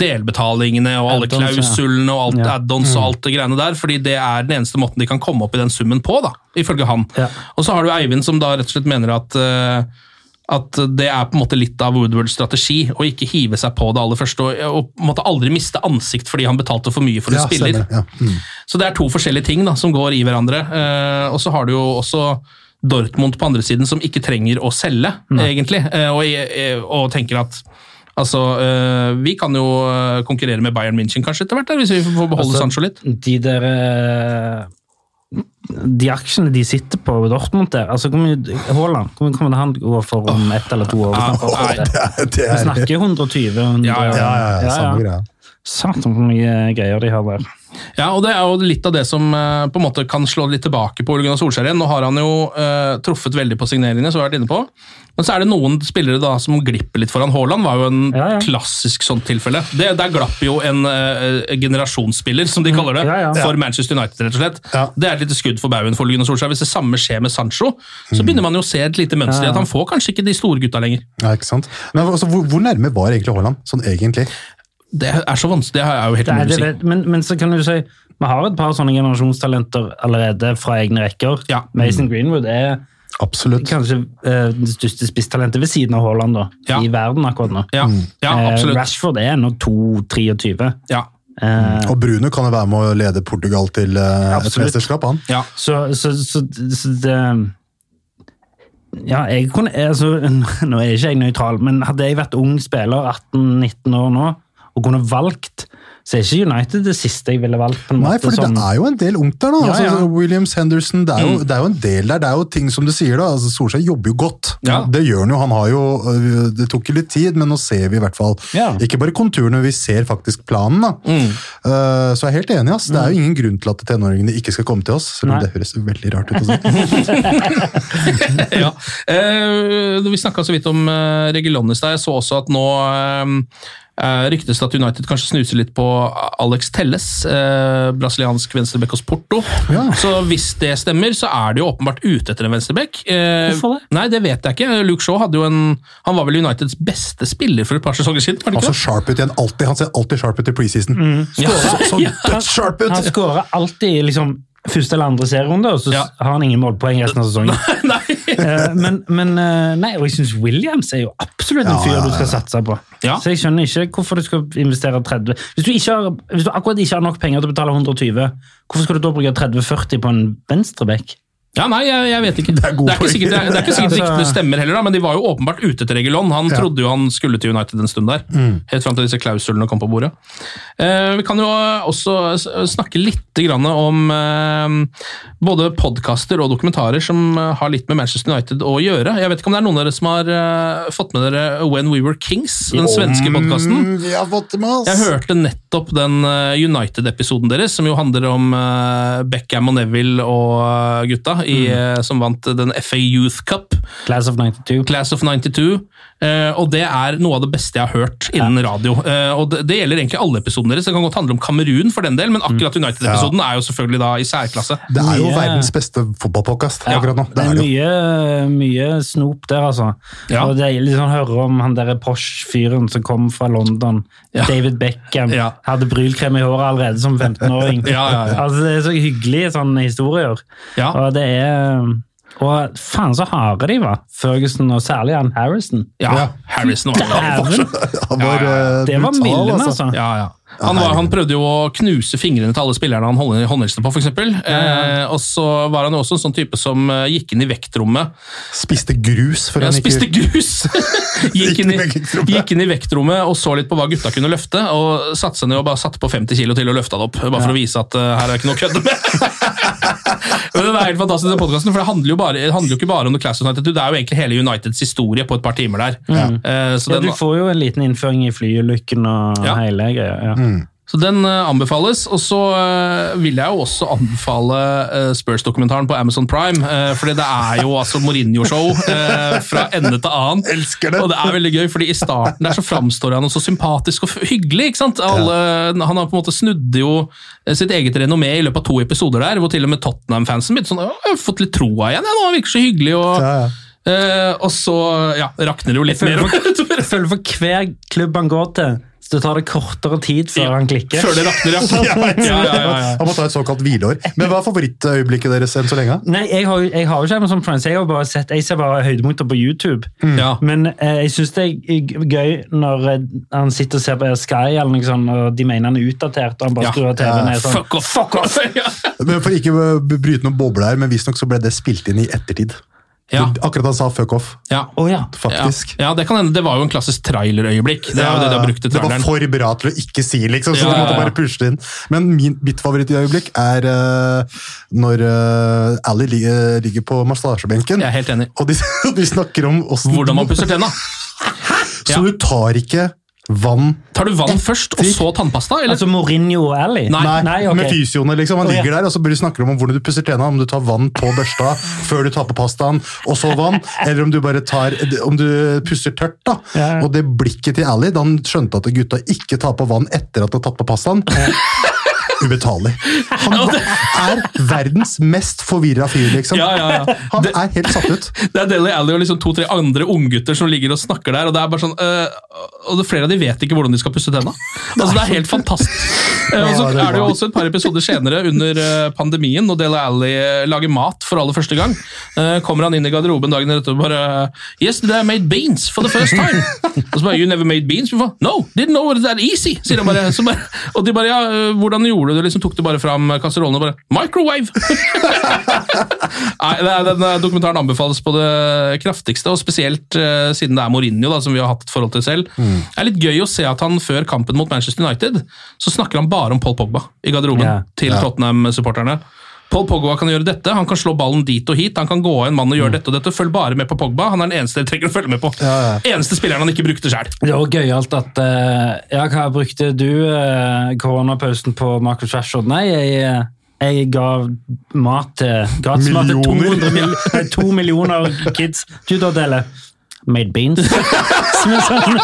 delbetalingene og alle
Add-ons, ja.
klausulene og alt
Ja. Mm.
add-ons og alt det greiene der, fordi det er den eneste måten de kan komme opp i den summen på, da, ifølge han.
Ja.
Og så har du Eivind som da rett og slett mener at eh,
at det er på en måte litt av Woodwards strategi å ikke hive seg på det aller første, og, og på en måte aldri miste ansikt fordi han betalte for mye for en
Ja,
spiller.
stemmer, ja. Mm.
Så det er to forskjellige ting da, som går i hverandre. Eh, og så har du jo også Dortmund på andre siden, som ikke trenger å selge, egentlig. Eh, og, eh, og tenker at altså, eh, vi kan jo eh, konkurrere med Bayern München kanskje etter hvert, da, hvis vi får beholde
Altså,
Sancho litt.
De der eh, De aksjene de sitter på i Dortmund der altså, hvor mye- Haaland, hvor mye kommer han til å gå for om ett eller to år?
Ja,
Hvis han får
det
det?
er, det
Vi
er,
snakker 120 100,
Ja, ja,
ja, ja, ja, samme greia.
Satan, hvor mye greier de har der.
Ja, og det er jo litt av det som eh, på en måte kan slå litt tilbake på Ole Gunnar Solskjær igjen. Nå har han jo eh, truffet veldig på signeringene, som vi har vært inne på. Men så er det noen spillere da som glipper litt foran. Haaland var jo en
Ja, ja.
klassisk sånt tilfelle. Det, der glapp jo en eh, generasjonsspiller, som de kaller det,
Mm. Ja, ja.
for Manchester United, rett og slett.
Ja.
Det er et lite skudd for baugen for Ole Gunnar Solskjær. Hvis det samme skjer med Sancho, så begynner man jo å se et lite mønster i at han får kanskje ikke de store gutta lenger.
Ja, ikke sant? Men altså, hvor, hvor nærme var egentlig Haaland, sånn egentlig?
Det er så vanskelig, det er jo helt
Det er,
umulig
det,
å si.
vet- men, men så kan du si vi har et par sånne generasjonstalenter allerede fra egne rekker.
Ja.
Mason Greenwood er
Absolutt.
kanskje eh, det største spisstalentet ved siden av Haaland da,
Ja.
i verden akkurat nå.
Ja, ja
Eh,
absolutt.
Rashford er nå 2-23.
Ja,
Eh,
Og Bruno kan jo være med å lede Portugal til eh, et
Absolutt.
mesterskap, han.
ja.
Så, så, så, så det Ja, jeg kunne altså, Nå er ikke jeg nøytral, men hadde jeg vært ung spiller, 18-19 år nå, og kunne valgt, så er ikke United det siste jeg ville valgt. på en
Nei,
måte
fordi
som,
det er jo en del ungt der nå.
Ja,
Altså,
ja. Mm.
Williams, Henderson, det er, jo, det er jo en del der. Det er jo ting som du sier da, altså, Solskjær jobber jo godt.
Ja.
Det gjør han jo. Han har jo, øh, det tok jo litt tid, men nå ser vi i hvert fall.
Ja. Mm.
Ikke bare konturene, vi ser faktisk planen da. Eh, så jeg er helt enig, ass. Det er jo ingen grunn til at tenåringene ikke skal komme til oss, selv om
Nei.
det høres veldig rart ut å si.
ja. Eh, vi snakka så vidt om uh, Regulonis der. Jeg så også at nå eh, eh, ryktes det at United kanskje snuser litt på Alex Telles, eh, brasiliansk venstrebekk hos Porto. Så hvis det stemmer, så er de jo åpenbart ute etter en venstrebekk. Eh,
Hvorfor det?
Nei, det vet jeg ikke. Luke Shaw hadde jo en, han var vel Uniteds beste spiller for et par sesonger siden? var det ikke
Altså
det?
sharp ut igjen, alltid. Han ser alltid sharp ut i preseason.
Mm.
Så, så dødssharp
Han
ut!
skårer alltid i liksom, første eller andre serierunde, og så s-
Ja.
har han ingen målpoeng resten av sesongen.
Nei.
Eh, men, men eh, nei, og jeg syns Williams er jo absolutt en
Ja,
fyr
ja,
du skal satse på.
Ja.
Så jeg skjønner ikke hvorfor du skal investere 30 hvis du, ikke har, hvis du akkurat ikke har nok penger til å betale 120, hvorfor skal du da bruke 30-40 på en venstrebekk?
Ja, nei, jeg, jeg vet ikke. Det
er god
ikke
poeng.
sikkert, det er, det er ikke sikkert
Altså-
ryktene stemmer heller, da, men de var jo åpenbart ute etter Regulon. Han
Ja.
trodde jo han skulle til United en stund der,
Mm.
helt fram til disse klausulene kom på bordet. Eh, vi kan jo også s- snakke litt grann om eh, både podkaster og dokumentarer som eh, har litt med Manchester United å gjøre. Jeg vet ikke om det er noen av dere som har eh, fått med dere When We Were Kings, den svenske podkasten?
Mm, vi har fått det med oss!
Jeg hørte nettopp den eh, United-episoden deres, som jo handler om eh, Beckham og Neville og eh, gutta, i, eh, som vant den FA Youth Cup,
Class of 92.
Class of 92. eh, og det er noe av det beste jeg har hørt innen radio. Eh, og det, det gjelder egentlig alle episodene deres. Det kan godt handle om Kamerun for den del, men akkurat United-episoden er jo selvfølgelig da i særklasse.
Det er jo
Mye-
verdens beste fotballpodkast
Ja.
akkurat nå. Det
Det
er
er
det jo.
mye, mye snop der, altså.
Ja.
Og det er litt sånn høre om han der Posh-fyren som kom fra London.
Ja.
David Beckham.
Ja.
Hadde brylkrem i håret allerede som 15-åring.
Ja, ja, ja.
Altså, det er så hyggelige sånne historier.
Ja.
Og det er Og faen så harde de var, Ferguson og særlig han Harrison.
Ja, Harrison var det.
Dæven!
Han var,
Ja, ja,
eh,
Det var
brutal,
milden, altså.
Ja, ja. Han, var, han prøvde jo å knuse fingrene til alle spillerne han holdt- håndhilste på, f.eks. Eh, og så var han jo også en sånn type som eh, gikk inn i vektrommet
Spiste grus for
Ja,
han
spiste
ikke
grus! gikk, inn i,
Gikk inn i vektrommet.
gikk inn i vektrommet og så litt på hva gutta kunne løfte, og satte seg ned og bare satte på 50 kilo til og løfta det opp. Bare for å vise at eh, her er ikke noe å kødde med. Men den er helt fantastisk, den podcasten, for det handler jo, bare, det handler jo ikke bare om The Class of 92, det er jo egentlig hele Uniteds historie på et par timer der. Eh, så
Ja,
den,
du får jo en liten innføring i flyulykken og
Ja.
hele greia. Ja.
Så den eh, anbefales. Og så eh, vil jeg jo også anbefale eh, Spurs-dokumentaren på Amazon Prime. Uh, fordi det er jo altså Mourinho-show eh, fra ende til annen.
Elsker det.
Og det er veldig gøy, fordi i starten der så framstår han jo så sympatisk og f- hyggelig. ikke sant? Alle, Han har på en måte snudd jo eh, sitt eget renommé i løpet av to episoder der, hvor til og med Tottenham-fansen begynte sånn «Å, Jeg har fått litt troa igjen, jeg nå. Han virker så hyggelig. og...
Ja, ja.
Eh,
Eh, og så ja, rakner det jo litt mer.
Jeg føler for hver klubb han går til, så det tar det kortere tid før han klikker.
Før det rakner, ja. ja, ja, ja, ja.
Han må ta et såkalt hvileår. Men hva er favorittøyeblikket deres enn så lenge?
Nei, jeg har, jo- jeg har jo ikke Amazon Prime, så jeg har bare sett, jeg ser bare høydepunkter på YouTube.
Ja.
Men eh, jeg syns det er g- gøy når eh, han sitter og ser på Sky, eller noe sånt, og de mener han er utdatert, og han bare
Ja.
skrur av TV-en ned sånn.
Fuck off, fuck off! Ja.
Men For ikke å bryte noen boble her, men visstnok så ble det spilt inn i ettertid.
Ja,
Akkurat han sa fuck off,
ja.
Å ja.
faktisk.
Ja, ja, det kan hende. Det var jo en klassisk trailerøyeblikk. Det er jo det de har brukt i
Det var
traileren.
for bra til å ikke si, liksom, så
Ja,
du måtte
ja, ja.
bare pushe det inn. Men min, mitt favorittøyeblikk er eh, når uh, Ally li- eh, ligger på massasjebenken,
Jeg er helt enig.
og de, de snakker om åssen-
Hvordan man pusser tenna.
Så du tar ikke vann
Tar du vann først, og så tannpasta? Eller?
Altså Mourinho og Ally?
Nei.
Nei,
ok.
med fysioene liksom. Han
Å, ja.
ligger der, og så bør du snakke om hvordan du pusser tena, om du tar vann på børsta før du tar på pastaen, og så vann, eller om du bare tar, om du pusser tørt da.
Ja.
Og det blikket til Ali, da han skjønte at gutta ikke tar på vann etter at de har tatt på pastaen, ubetalig. Han er verdens mest forvirra fyr, liksom.
Ja, ja, ja.
Han
Det-
er helt satt ut.
Det er Deli Alli og liksom to-tre andre unggutter som ligger og snakker der. Og det er bare sånn, øh, og det- flere av de vet ikke hvordan de skal pusse tenna. Altså, det er helt fantastisk. Eh, og
Ja,
så
det
er det jo
var-
også et par episoder senere under eh, pandemien, når Deli Alli eh, lager mat for aller første gang. Eh, kommer han inn i garderoben dagen etter og bare Yesterday I made beans for the first time. og så bare You never made beans before? No, didn't know it that easy. sier han bare. Så bare og de bare Ja, eh, hvordan gjorde du det? Liksom, tok du bare fram kasserollen og bare Microwave! Nei, det er- den eh, Dokumentaren anbefales på det kraftigste, og spesielt eh, siden det er Mourinho, da, som vi har hatt et forhold til selv. Det er litt gøy å se at han før kampen mot Manchester United så snakker han bare om Paul Pogba i garderoben
Ja.
til Tottenham-supporterne. Paul Pogba kan gjøre dette, han kan slå ballen dit og hit, han kan gå av en mann og gjøre dette og dette. Følg bare med på Pogba, han er den eneste dere trenger å følge med på. Eneste spilleren han ikke brukte sjøl.
Det var gøyalt at eh, Ja, hva brukte du eh, koronapausen på Marcus Rashford? Nei, jeg, eh, jeg ga mat til gratismat til
Millioner.
200 mil, nei, to millioner kids. Du da, Dele? Eh, Made beans. Som er sånn.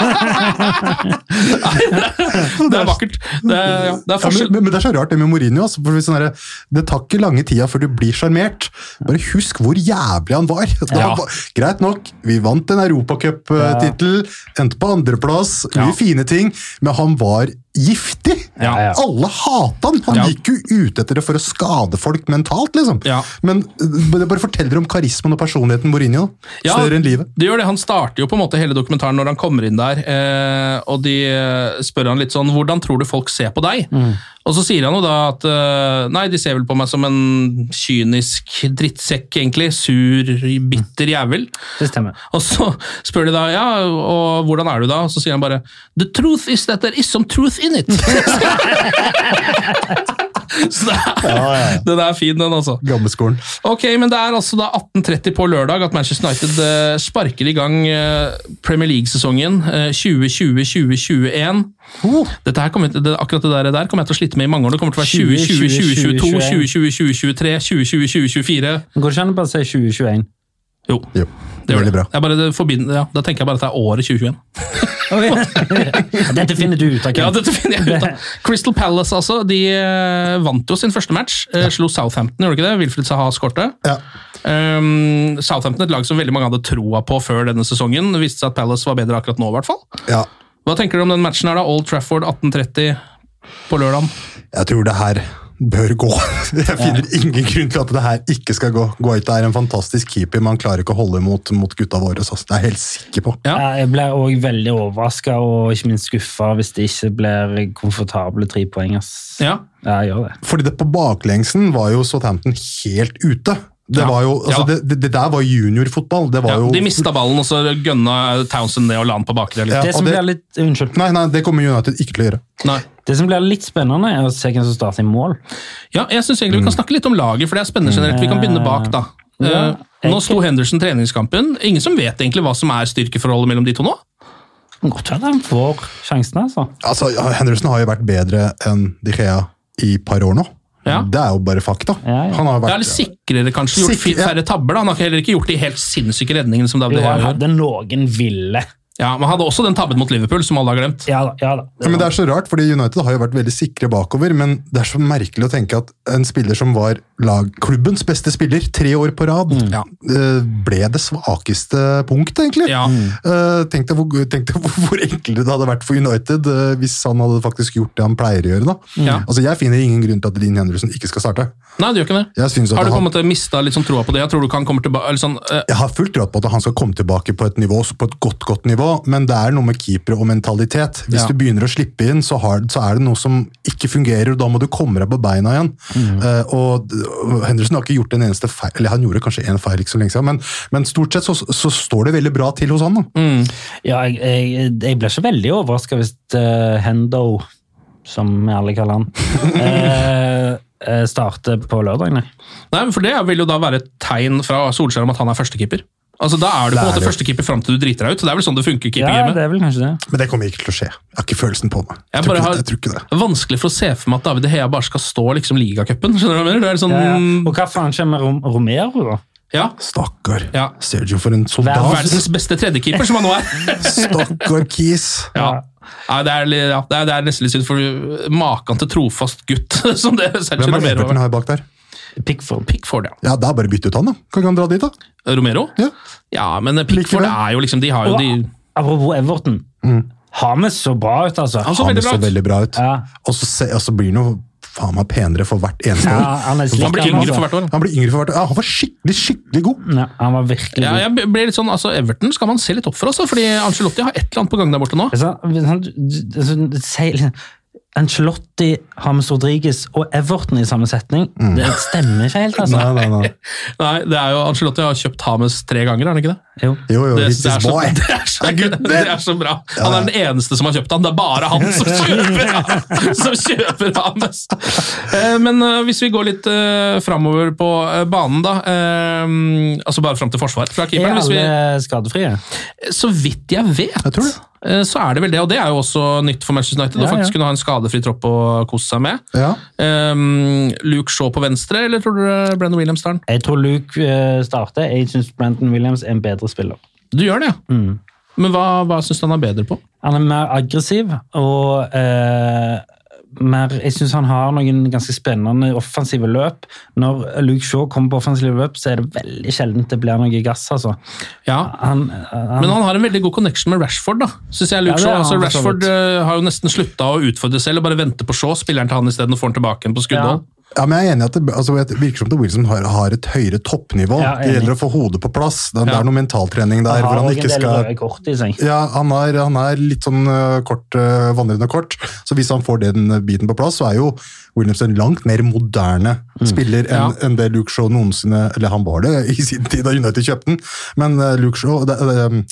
Det er vakkert. Det er, ja, det er
Ja, men,
forskjell.
men, men det er så rart det med Mourinho. Altså, for sånn der, det tar ikke lange tida før du blir sjarmert. Bare husk hvor jævlig han var. Da
Ja.
han var- Greit nok, vi vant en europacuptittel, endte på andreplass, mye
Ja.
fine ting, men han var giftig!
Ja, ja.
Alle hata han! Han
Ja.
gikk jo ute etter det for å skade folk mentalt, liksom.
Ja.
Men øh, det bare forteller om karismaen og personligheten Mourinho.
Ja,
Større enn livet.
Det gjør det. Han starter jo på en måte hele dokumentaren når han kommer inn der, eh, og de eh, spør han litt sånn Hvordan tror du folk ser på deg?
Mm.
Og så sier han jo da at eh, Nei, de ser vel på meg som en kynisk drittsekk, egentlig. Sur, bitter jævel.
Det stemmer.
Og så spør de da ja, og hvordan er du da? Og så sier han bare The truth is that there is some truth in it. så det er, den er fin, den, altså.
Gamleskolen.
Ok, men Det er altså da 18.30 på lørdag at Manchester United eh, sparker i gang eh, Premier League-sesongen eh, 2020-2021. Dette her kommer jeg til- det, akkurat det der, der kommer jeg til å slite med i mange år. Det kommer til å være 2020, 2022, 2020-2023, 2020-2024
Går det ikke an å bare si 2021?
Jo,
Jo,
det gjør
veldig
det.
bra.
Jeg bare, det forbinder, ja, da tenker jeg bare at det er året 2021.
Dette finner du ut av.
Ja,
Kim.
dette finner jeg ut av. Crystal Palace altså, de eh, vant jo sin første match. eh, Slo Southampton, gjorde de ikke det? Wilfred Saha skårte.
Ja.
Um, Southampton et lag som veldig mange hadde troa på før denne sesongen. Det viste seg at Palace var bedre akkurat nå, i hvert fall.
Ja.
Hva tenker du om den matchen her, da? Old Trafford 18.30 på lørdag.
Jeg tror det her bør gå. Jeg finner ingen grunn til at det her ikke skal gå. Guaita er en fantastisk keeper, men han klarer ikke å holde imot mot gutta våre. Så det er jeg helt sikker på.
Ja.
Ja, Jeg blir òg veldig overraska og ikke minst skuffa hvis det ikke blir komfortable tre poeng. ass.
Ja.
Ja, jeg gjør det.
Fordi det på baklengsen var jo Southampton helt ute. Det,
Ja.
var jo, altså,
Ja.
det, det, det der var juniorfotball. Det var
Ja,
jo
de mista ballen, og så gønna Townsend ned og la den på bakre.
Ja,
Litt.
Det som
og det-
blir litt, unnskyld.
Nei, nei, det kommer United ikke til å gjøre.
Nei.
Det som blir litt spennende, er å se hvem som starter i mål.
Ja, jeg synes egentlig
Mm.
Vi kan snakke litt om laget, for det er spennende generelt. Vi kan begynne bak, da.
Ja,
Eh, nå sto Henderson treningskampen. Ingen som vet egentlig hva som er styrkeforholdet mellom de to nå?
Kan Godt være han får sjansen, altså.
Altså, ja, Henderson har jo vært bedre enn De Gea i et par år nå.
Ja.
Det er jo bare fakta.
Ja, ja.
Han har
Det
vært,
er litt sikrere, kanskje. Gjort
Sikker- ja.
færre tabber. da. Han har heller ikke gjort de helt sinnssyke redningene som David
Jo,
Hea
han
gjør.
hadde noen ville
Ja, Man hadde også den tabben mot Liverpool, som alle har glemt.
Ja da. ja da.
Ja, men Det er så rart, fordi United har jo vært veldig sikre bakover, men det er så merkelig å tenke at en spiller som var lagklubbens beste spiller tre år på rad,
Mm. Ja.
eh, ble det svakeste punktet, egentlig.
Ja.
Eh, Tenk deg, hvor, tenk deg hvor, hvor enklere det hadde vært for United eh, hvis han hadde faktisk gjort det han pleier å gjøre. da.
Ja.
Altså, Jeg finner ingen grunn til at Linn Henderson ikke skal starte.
Nei, det gjør ikke det.
Jeg synes at
Har du på en
han,
måte mista litt sånn troa på det? Jeg tror du kan komme tilbake eller sånn, eh,
jeg har fullt råd på at han skal komme tilbake på et nivå, på et godt godt nivå, men det er noe med keepere og mentalitet. Hvis
Ja.
du begynner å slippe inn, så, har, så er det noe som ikke fungerer, og da må du komme deg på beina igjen.
Mhm.
Eh, og og Henderson har ikke gjort en eneste feil, eller han gjorde kanskje en feil ikke så lenge siden, men, men stort sett så, så står det veldig bra til hos han. da.
Mm.
Ja, jeg, jeg, jeg ble ikke veldig overraska hvis eh, Hendo, som vi alle kaller han, eh, eh, starter på lørdag. Nei.
Nei, men for det vil jo da være et tegn fra Solskjær om at han er førstekeeper. Altså, Da er du
Det
på en
er
måte
det.
førstekeeper fram til du driter deg ut. Det er vel sånn det funker i
Ja,
keepergamet.
det er vel kanskje det.
Men det kommer ikke til å skje. Jeg har ikke følelsen på meg.
Jeg
Jeg, tror
bare
ikke,
har-
jeg tror ikke det.
Vanskelig for å se for meg at David De Hea bare skal stå liksom ligacupen. Skjønner du hva jeg mener? Det er litt sånn,
Ja, ja. Og hva faen skjer med Rom Romero, da?
ja.
Stakkar.
Ja.
Sergio for en soldat.
Verdens beste tredjekeeper, som han nå er.
Stakkar Kis.
Ja. Nei, det, er, litt- ja, det, er, det er nesten litt synd, for maken til trofast gutt som det Sergio
Hvem er det
Romero
Everton
har.
har bak der?
Pickford.
Pickford, ja.
Ja, Det er bare å bytte ut han, da. Kan ikke han dra dit, da?
Romero?
Ja.
men Pickford
Likevel.
er jo liksom De har jo
Og
de Mm.
apropos Everton. Har vi så bra ut, altså?
Han så
Han
veldig bra
så
ut.
veldig bra ut.
Ja.
Og så se- og så blir han jo faen meg penere for hvert eneste
Ja,
år.
han, er slik,
Han blir
altså.
yngre for hvert år.
Han blir yngre for hvert år. Ja, han var skikkelig, skikkelig god.
Ja, han var virkelig
Ja,
god.
jeg blir litt sånn, altså Everton skal man se litt opp for, altså, fordi Angelotti har et eller annet på gang der borte nå.
Hvis han- hvis han- hvis han sier liksom, Ancelotti, James Rodriguez og Everton i samme setning. Det stemmer ikke helt, altså.
Nei, nei, nei.
Mm. Nei, det er jo Angelotti har kjøpt Hames tre ganger, er han ikke det?
Jo.
Jo, jo,
Det,
this
det, er
is
så,
boy.
det, er så,
Ja, gutt,
det er så bra. Han er den eneste som har kjøpt han. Det er bare han som kjøper han! Som kjøper han. Eh, Men eh, hvis vi går litt eh, framover på eh, banen, da. eh, Altså bare fram til forsvar fra
Er
keeperen. Hvis vi,
alle skadefrie?
så vidt jeg vet,
Jeg tror det.
eh, så er det vel det. Og det er jo også nytt for Manchester United
Ja,
å faktisk
ja.
kunne ha en skadefri tropp å kose seg med.
Ja.
Um, Luke Shaw på venstre, eller tror dere Brendan Williams tar den?
Jeg tror Luke eh, starter. Jeg syns Brenton Williams er en bedre spiller.
Du gjør det, ja. Men hva, hva syns du han er bedre på?
Han er mer aggressiv og eh, mer Jeg syns han har noen ganske spennende offensive løp. Når Luke Shaw kommer på offensive løp, så er det veldig sjelden det blir noe gass, altså.
Ja,
Han, han,
Men han har en veldig god connection med Rashford, da. Synes jeg Luke
Ja, det er
Shaw, altså
han for så
Rashford
vidt.
eh, har jo nesten slutta å utfordre selv og bare venter på Shaw. Spiller han til han isteden og får han tilbake igjen på skuddhold.
Ja, men jeg er enig i at det altså, det virker som at Wilson har, har et høyere toppnivå.
Ja,
det
enig.
gjelder å få hodet på plass. Det, det
Ja.
er noe mentaltrening der.
han
hvor
har
han
også en
ikke
del
skal...
røde kort i seg.
Ja, han er, han er litt sånn øh, kort, øh, vandrende kort, så hvis han får den øh, biten på plass, så er jo Williams en langt mer moderne spiller enn
Mm. Ja.
enn det Luke Shaw noensinne Eller han var det i sin tid da United kjøpte den, men øh, Luke Shaw det, øh,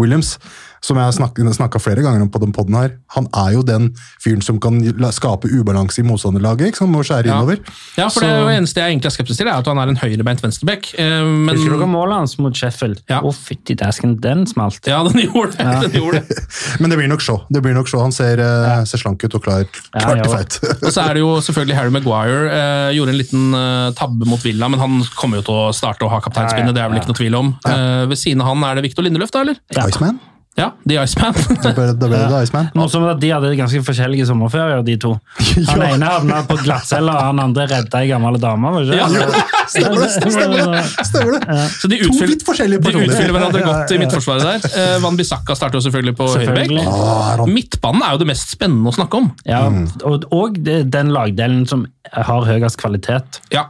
Williams, som jeg har snakka flere ganger om på den podden her, han er jo den fyren som kan la- skape ubalanse i motstanderlaget, ikke sant, og skjære
Ja.
innover.
Ja, for det er jo eneste jeg egentlig er skeptisk til, er at han er en høyrebeint venstreback. eh, Men
Husker dere målet hans mot Sheffield? Å,
Ja.
fytti dæsken, den smalt.
ja, den gjorde det. Den gjorde det.
Men det blir nok Shaw. Det blir nok Shaw. Han ser, øh, ser slank ut og klar, klar
ja,
til
ja.
fight.
Og så er det jo selvfølgelig Harry Maguire. eh, gjorde en liten eh, tabbe mot Villa, men han kommer jo til å starte og ha kapteinspinnet. Det er vel ikke noe tvil om. Eh, ved siden av han er det Victor Lindeløf, da, eller?
Iceman?
Ja, The Iceman.
Da ble da ble det Iceman.
Nå som at De hadde ganske forskjellige sommerferier, de to. Han
Ja.
ene havna på glattcella, og han andre redda ei gammel dame. var det ikke?
Ja.
Stemmer det! Stemmer det! Stemmer det.
Så de
To vidt forskjellige
de
personer.
utfyller hverandre
Ja, ja,
godt i midtforsvaret der. Eh, Van Bissaka starter jo selvfølgelig på høyrebekk.
Selvfølgelig.
Ah, Ron-
Midtbanen er jo det mest spennende å snakke om.
Ja,
Mm.
og, og det- den lagdelen som har høyest kvalitet eh,
Ja.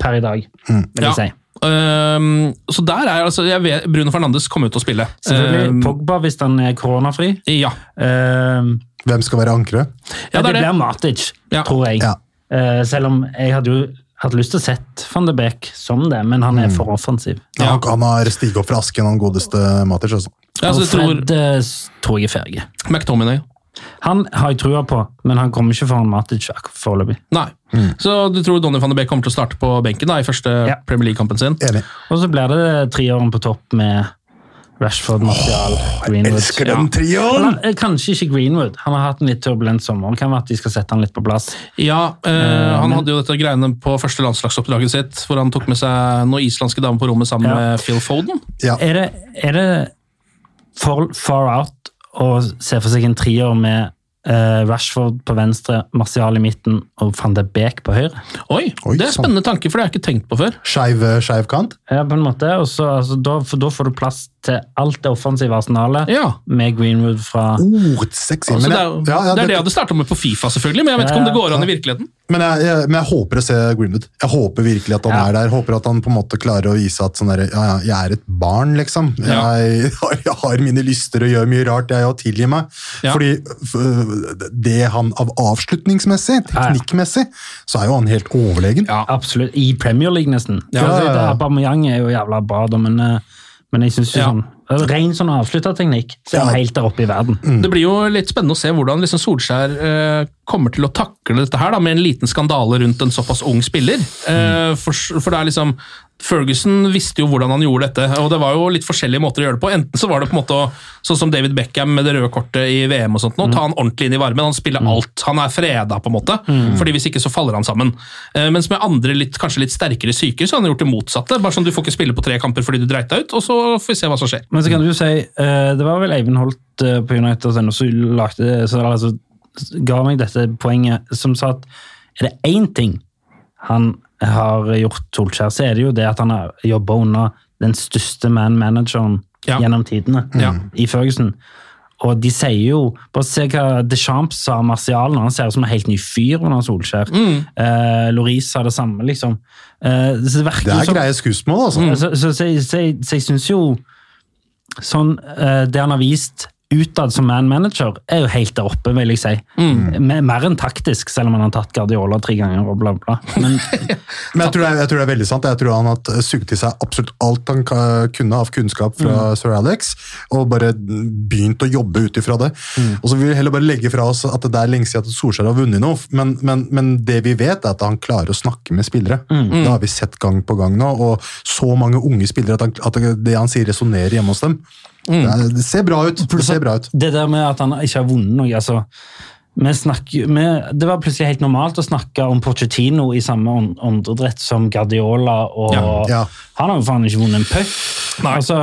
per i dag, vil
Mm.
Ja.
jeg si.
Ehm, så der er altså jeg vet, Bruno Fernandes kommer jo til å spille.
Selvfølgelig
Ehm,
Pogba, hvis han er koronafri.
ja.
Ehm,
Hvem skal være ankeret?
ja, det er det.
blir Matic,
Ja.
tror jeg.
Ja.
Eh, selv om jeg hadde jo hatt lyst til å sett van de Beek som det, men han er
Mm.
for offensiv.
Ja.
Han, han har stiget opp fra asken, han godeste Matic. Altså.
Ja, så
og
jeg tror
Fred eh, s- tror jeg er ferdig.
McTominay.
Han har jeg trua på, men han kommer ikke foran Matic ak- foreløpig.
Nei.
Mm.
Så du tror Donny van de Beek kommer til å starte på benken da, i første
Ja.
Premier League-kampen sin?
Enig.
Og så blir det treåren på topp med Rashford, Martial, Greenwood.
Elsker den trioen!
Eller, eh, Kanskje ikke Greenwood. Han har hatt en litt turbulent sommer. Det kan være at de skal sette han litt på plass.
Ja, eh, Han hadde jo dette greiene på første landslagsoppdraget sitt, hvor han tok med seg noen islandske damer på rommet sammen
Ja.
Eh.
med Phil Foden.
Ja.
Er det, er det for far out å se for seg en trier med eh, Rashford på venstre, Martial i midten og van de Beek på høyre.
Oi,
Oi,
sånn.
det er
sant.
spennende tanke, for det har jeg ikke tenkt på før.
Skeiv eh, skeiv kant.
Ja, på en måte. Og så, altså, da, for da får du plass til alt det offensive arsenalet
Ja.
med Greenwood fra
Oh, sexy.
Altså,
Men
det, er,
jeg,
jo-
ja, ja,
det er
det-
det jeg hadde starta med på Fifa, selvfølgelig, men jeg vet
Ja,
ikke om det
ja,
går an i virkeligheten.
men, jeg, jeg, men jeg håper å se Greenwood. Jeg håper virkelig at han
Ja.
er der. Håper at han på en måte klarer å vise at sånn der, ja, ja, jeg er et barn, liksom.
Ja.
Jeg, har, jeg har mine lyster og gjør mye rart, jeg òg. Tilgi meg.
Ja.
Fordi f- det han av avslutningsmessig,
Ja, ja.
teknikkmessig, så er jo han helt overlegen.
Ja.
Absolutt. I Premier League, nesten.
Ja,
altså,
ja, ja.
Det her Aubameyang er jo jævla bra, da, men, eh, men jeg syns
Ja.
sånn, Ren sånn avslutterteknikk, så er han
Ja.
helt der oppe i verden.
Mm.
Det blir jo litt spennende å se hvordan liksom Solskjær eh, kommer til å takle dette her, da, med en liten skandale rundt en såpass ung spiller. Eh,
Mm.
for, for det er liksom Ferguson visste jo hvordan han gjorde dette, og det var jo litt forskjellige måter å gjøre det på. Enten så var det på en måte å, sånn som David Beckham med det røde kortet i VM og sånt, nå, ta han ordentlig inn i varmen. Han spiller alt. Han er freda, på en måte. fordi hvis ikke så faller han sammen. Eh, mens med andre litt, kanskje litt sterkere psyker, så har han gjort det motsatte. Bare sånn du får ikke spille på tre kamper fordi du dreit deg ut, og så får vi se hva som skjer.
Men så kan du jo si, eh, det var vel Eivind Holt eh, på United som også lagde, så, altså, ga meg dette poenget, som sa at er det én ting han har gjort Solskjær, så er det jo det at han har jobba under den største man-manageren
Ja. Mm.
gjennom tidene,
Ja.
i Ferguson. Og de sier jo Bare se hva Deschamps sa om Martial når han ser ut som en helt ny fyr under Solskjær. Mm. Loris sa det samme, liksom. Eh, så det, virker
Det
jo
er
som-
greie skussmål,
Mm.
så,
altså.
så, så, jeg- så, jeg- så jeg syns jo sånn, eh, Det han har vist utad som man-manager, er jo helt der oppe, vil jeg si.
Mm.
Me- Mer enn taktisk, selv om han har tatt Guardiola tre ganger og bla, bla. Men
Men jeg tror, det er, jeg tror det er veldig sant. Jeg tror han har t- sugd til seg absolutt alt han ka- kunne av kunnskap fra sir Alex, og bare begynt å jobbe ut ifra det. Og så vil vi heller bare legge fra oss at det er lenge siden at Solskjær har vunnet noe, men, men, men det vi vet, er at han klarer å snakke med spillere. Det har vi sett gang på gang nå, og så mange unge spillere at, han, at det han sier, resonnerer hjemme hos dem. Det, er, det ser bra ut. Det ser bra ut.
det der med at han ikke har vunnet noe altså, vi snakker, vi, Det var plutselig helt normalt å snakke om Pochettino i samme ånd- åndedrett som Guardiola. og
Ja, ja.
Han har jo faen ikke vunnet en puck. Altså,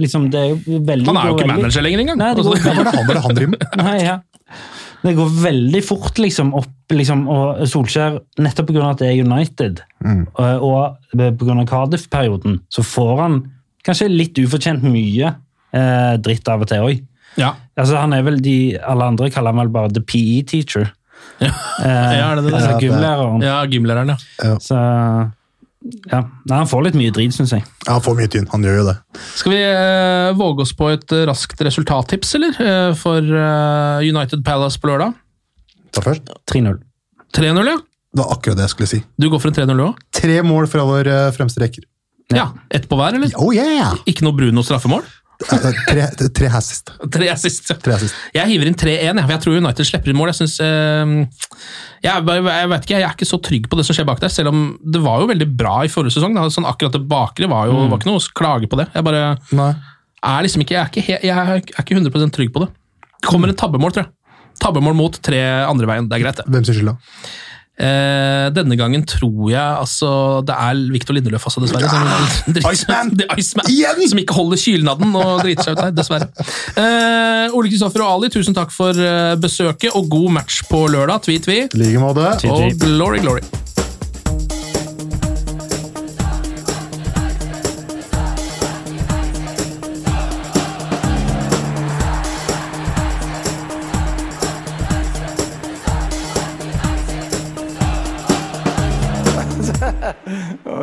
liksom, det er jo veldig,
Han er jo
går
ikke
veldig-
manager lenger engang.
Nei, det går
Altså,
Hva er det han, hva er det han driver med?
Nei, ja. Det går veldig fort liksom, opp, liksom, og Solskjær, nettopp pga. at det er United,
Mm.
eh, og, og pga. Cardiff-perioden, så får han kanskje litt ufortjent mye eh, dritt av og til òg.
Ja.
Altså, han er vel de, alle andre kaller han vel bare the PE teacher. Eh,
Ja, er det det?
altså
Ja, det-
gymlæreren.
Ja, gymlæreren, ja.
Så ja. Nei, han får litt mye drit, syns jeg.
Ja, Han får mye tynn, han gjør jo det.
Skal vi eh, våge oss på et eh, raskt resultattips, eller? Eh, for eh, United Palace på lørdag.
Ta først.
3-0.
3-0, ja.
Det var akkurat det jeg skulle si.
Du går for en 3-0 òg?
Tre mål fra vår eh, fremste rekker.
Ja. Ett på hver, eller?
Oh yeah!
Ikke noe Bruno straffemål?
Altså, tre, tre assist.
Tre assist, ja.
Tre assist.
Jeg hiver inn 3-1, jeg, for jeg tror United slipper inn mål. Jeg synes, eh, jeg, er bare- jeg vet ikke, jeg er ikke så trygg på det som skjer bak der, selv om det var jo veldig bra i forrige sesong. Da. Sånn akkurat det bakre var jo var ikke noe å klage på det. Jeg bare
Nei.
er liksom ikke, jeg er ikke, he- jeg er ikke 100 trygg på det. Det kommer et tabbemål, tror jeg. Tabbemål mot tre andre veien. Det er greit, det.
Hvem sin skyld da?
Eh, denne gangen tror jeg altså, det er Victor Lindeløf, altså, dessverre. Som, driter-
Iceman!
The Iceman
Igjen!
Som ikke holder kylnaden og driter seg ut der, dessverre. Eh, Ole Kristoffer og Ali, tusen takk for eh, besøket og god match på lørdag. Tvi, tvi.
I like måte.
Og glory, glory.
Oh,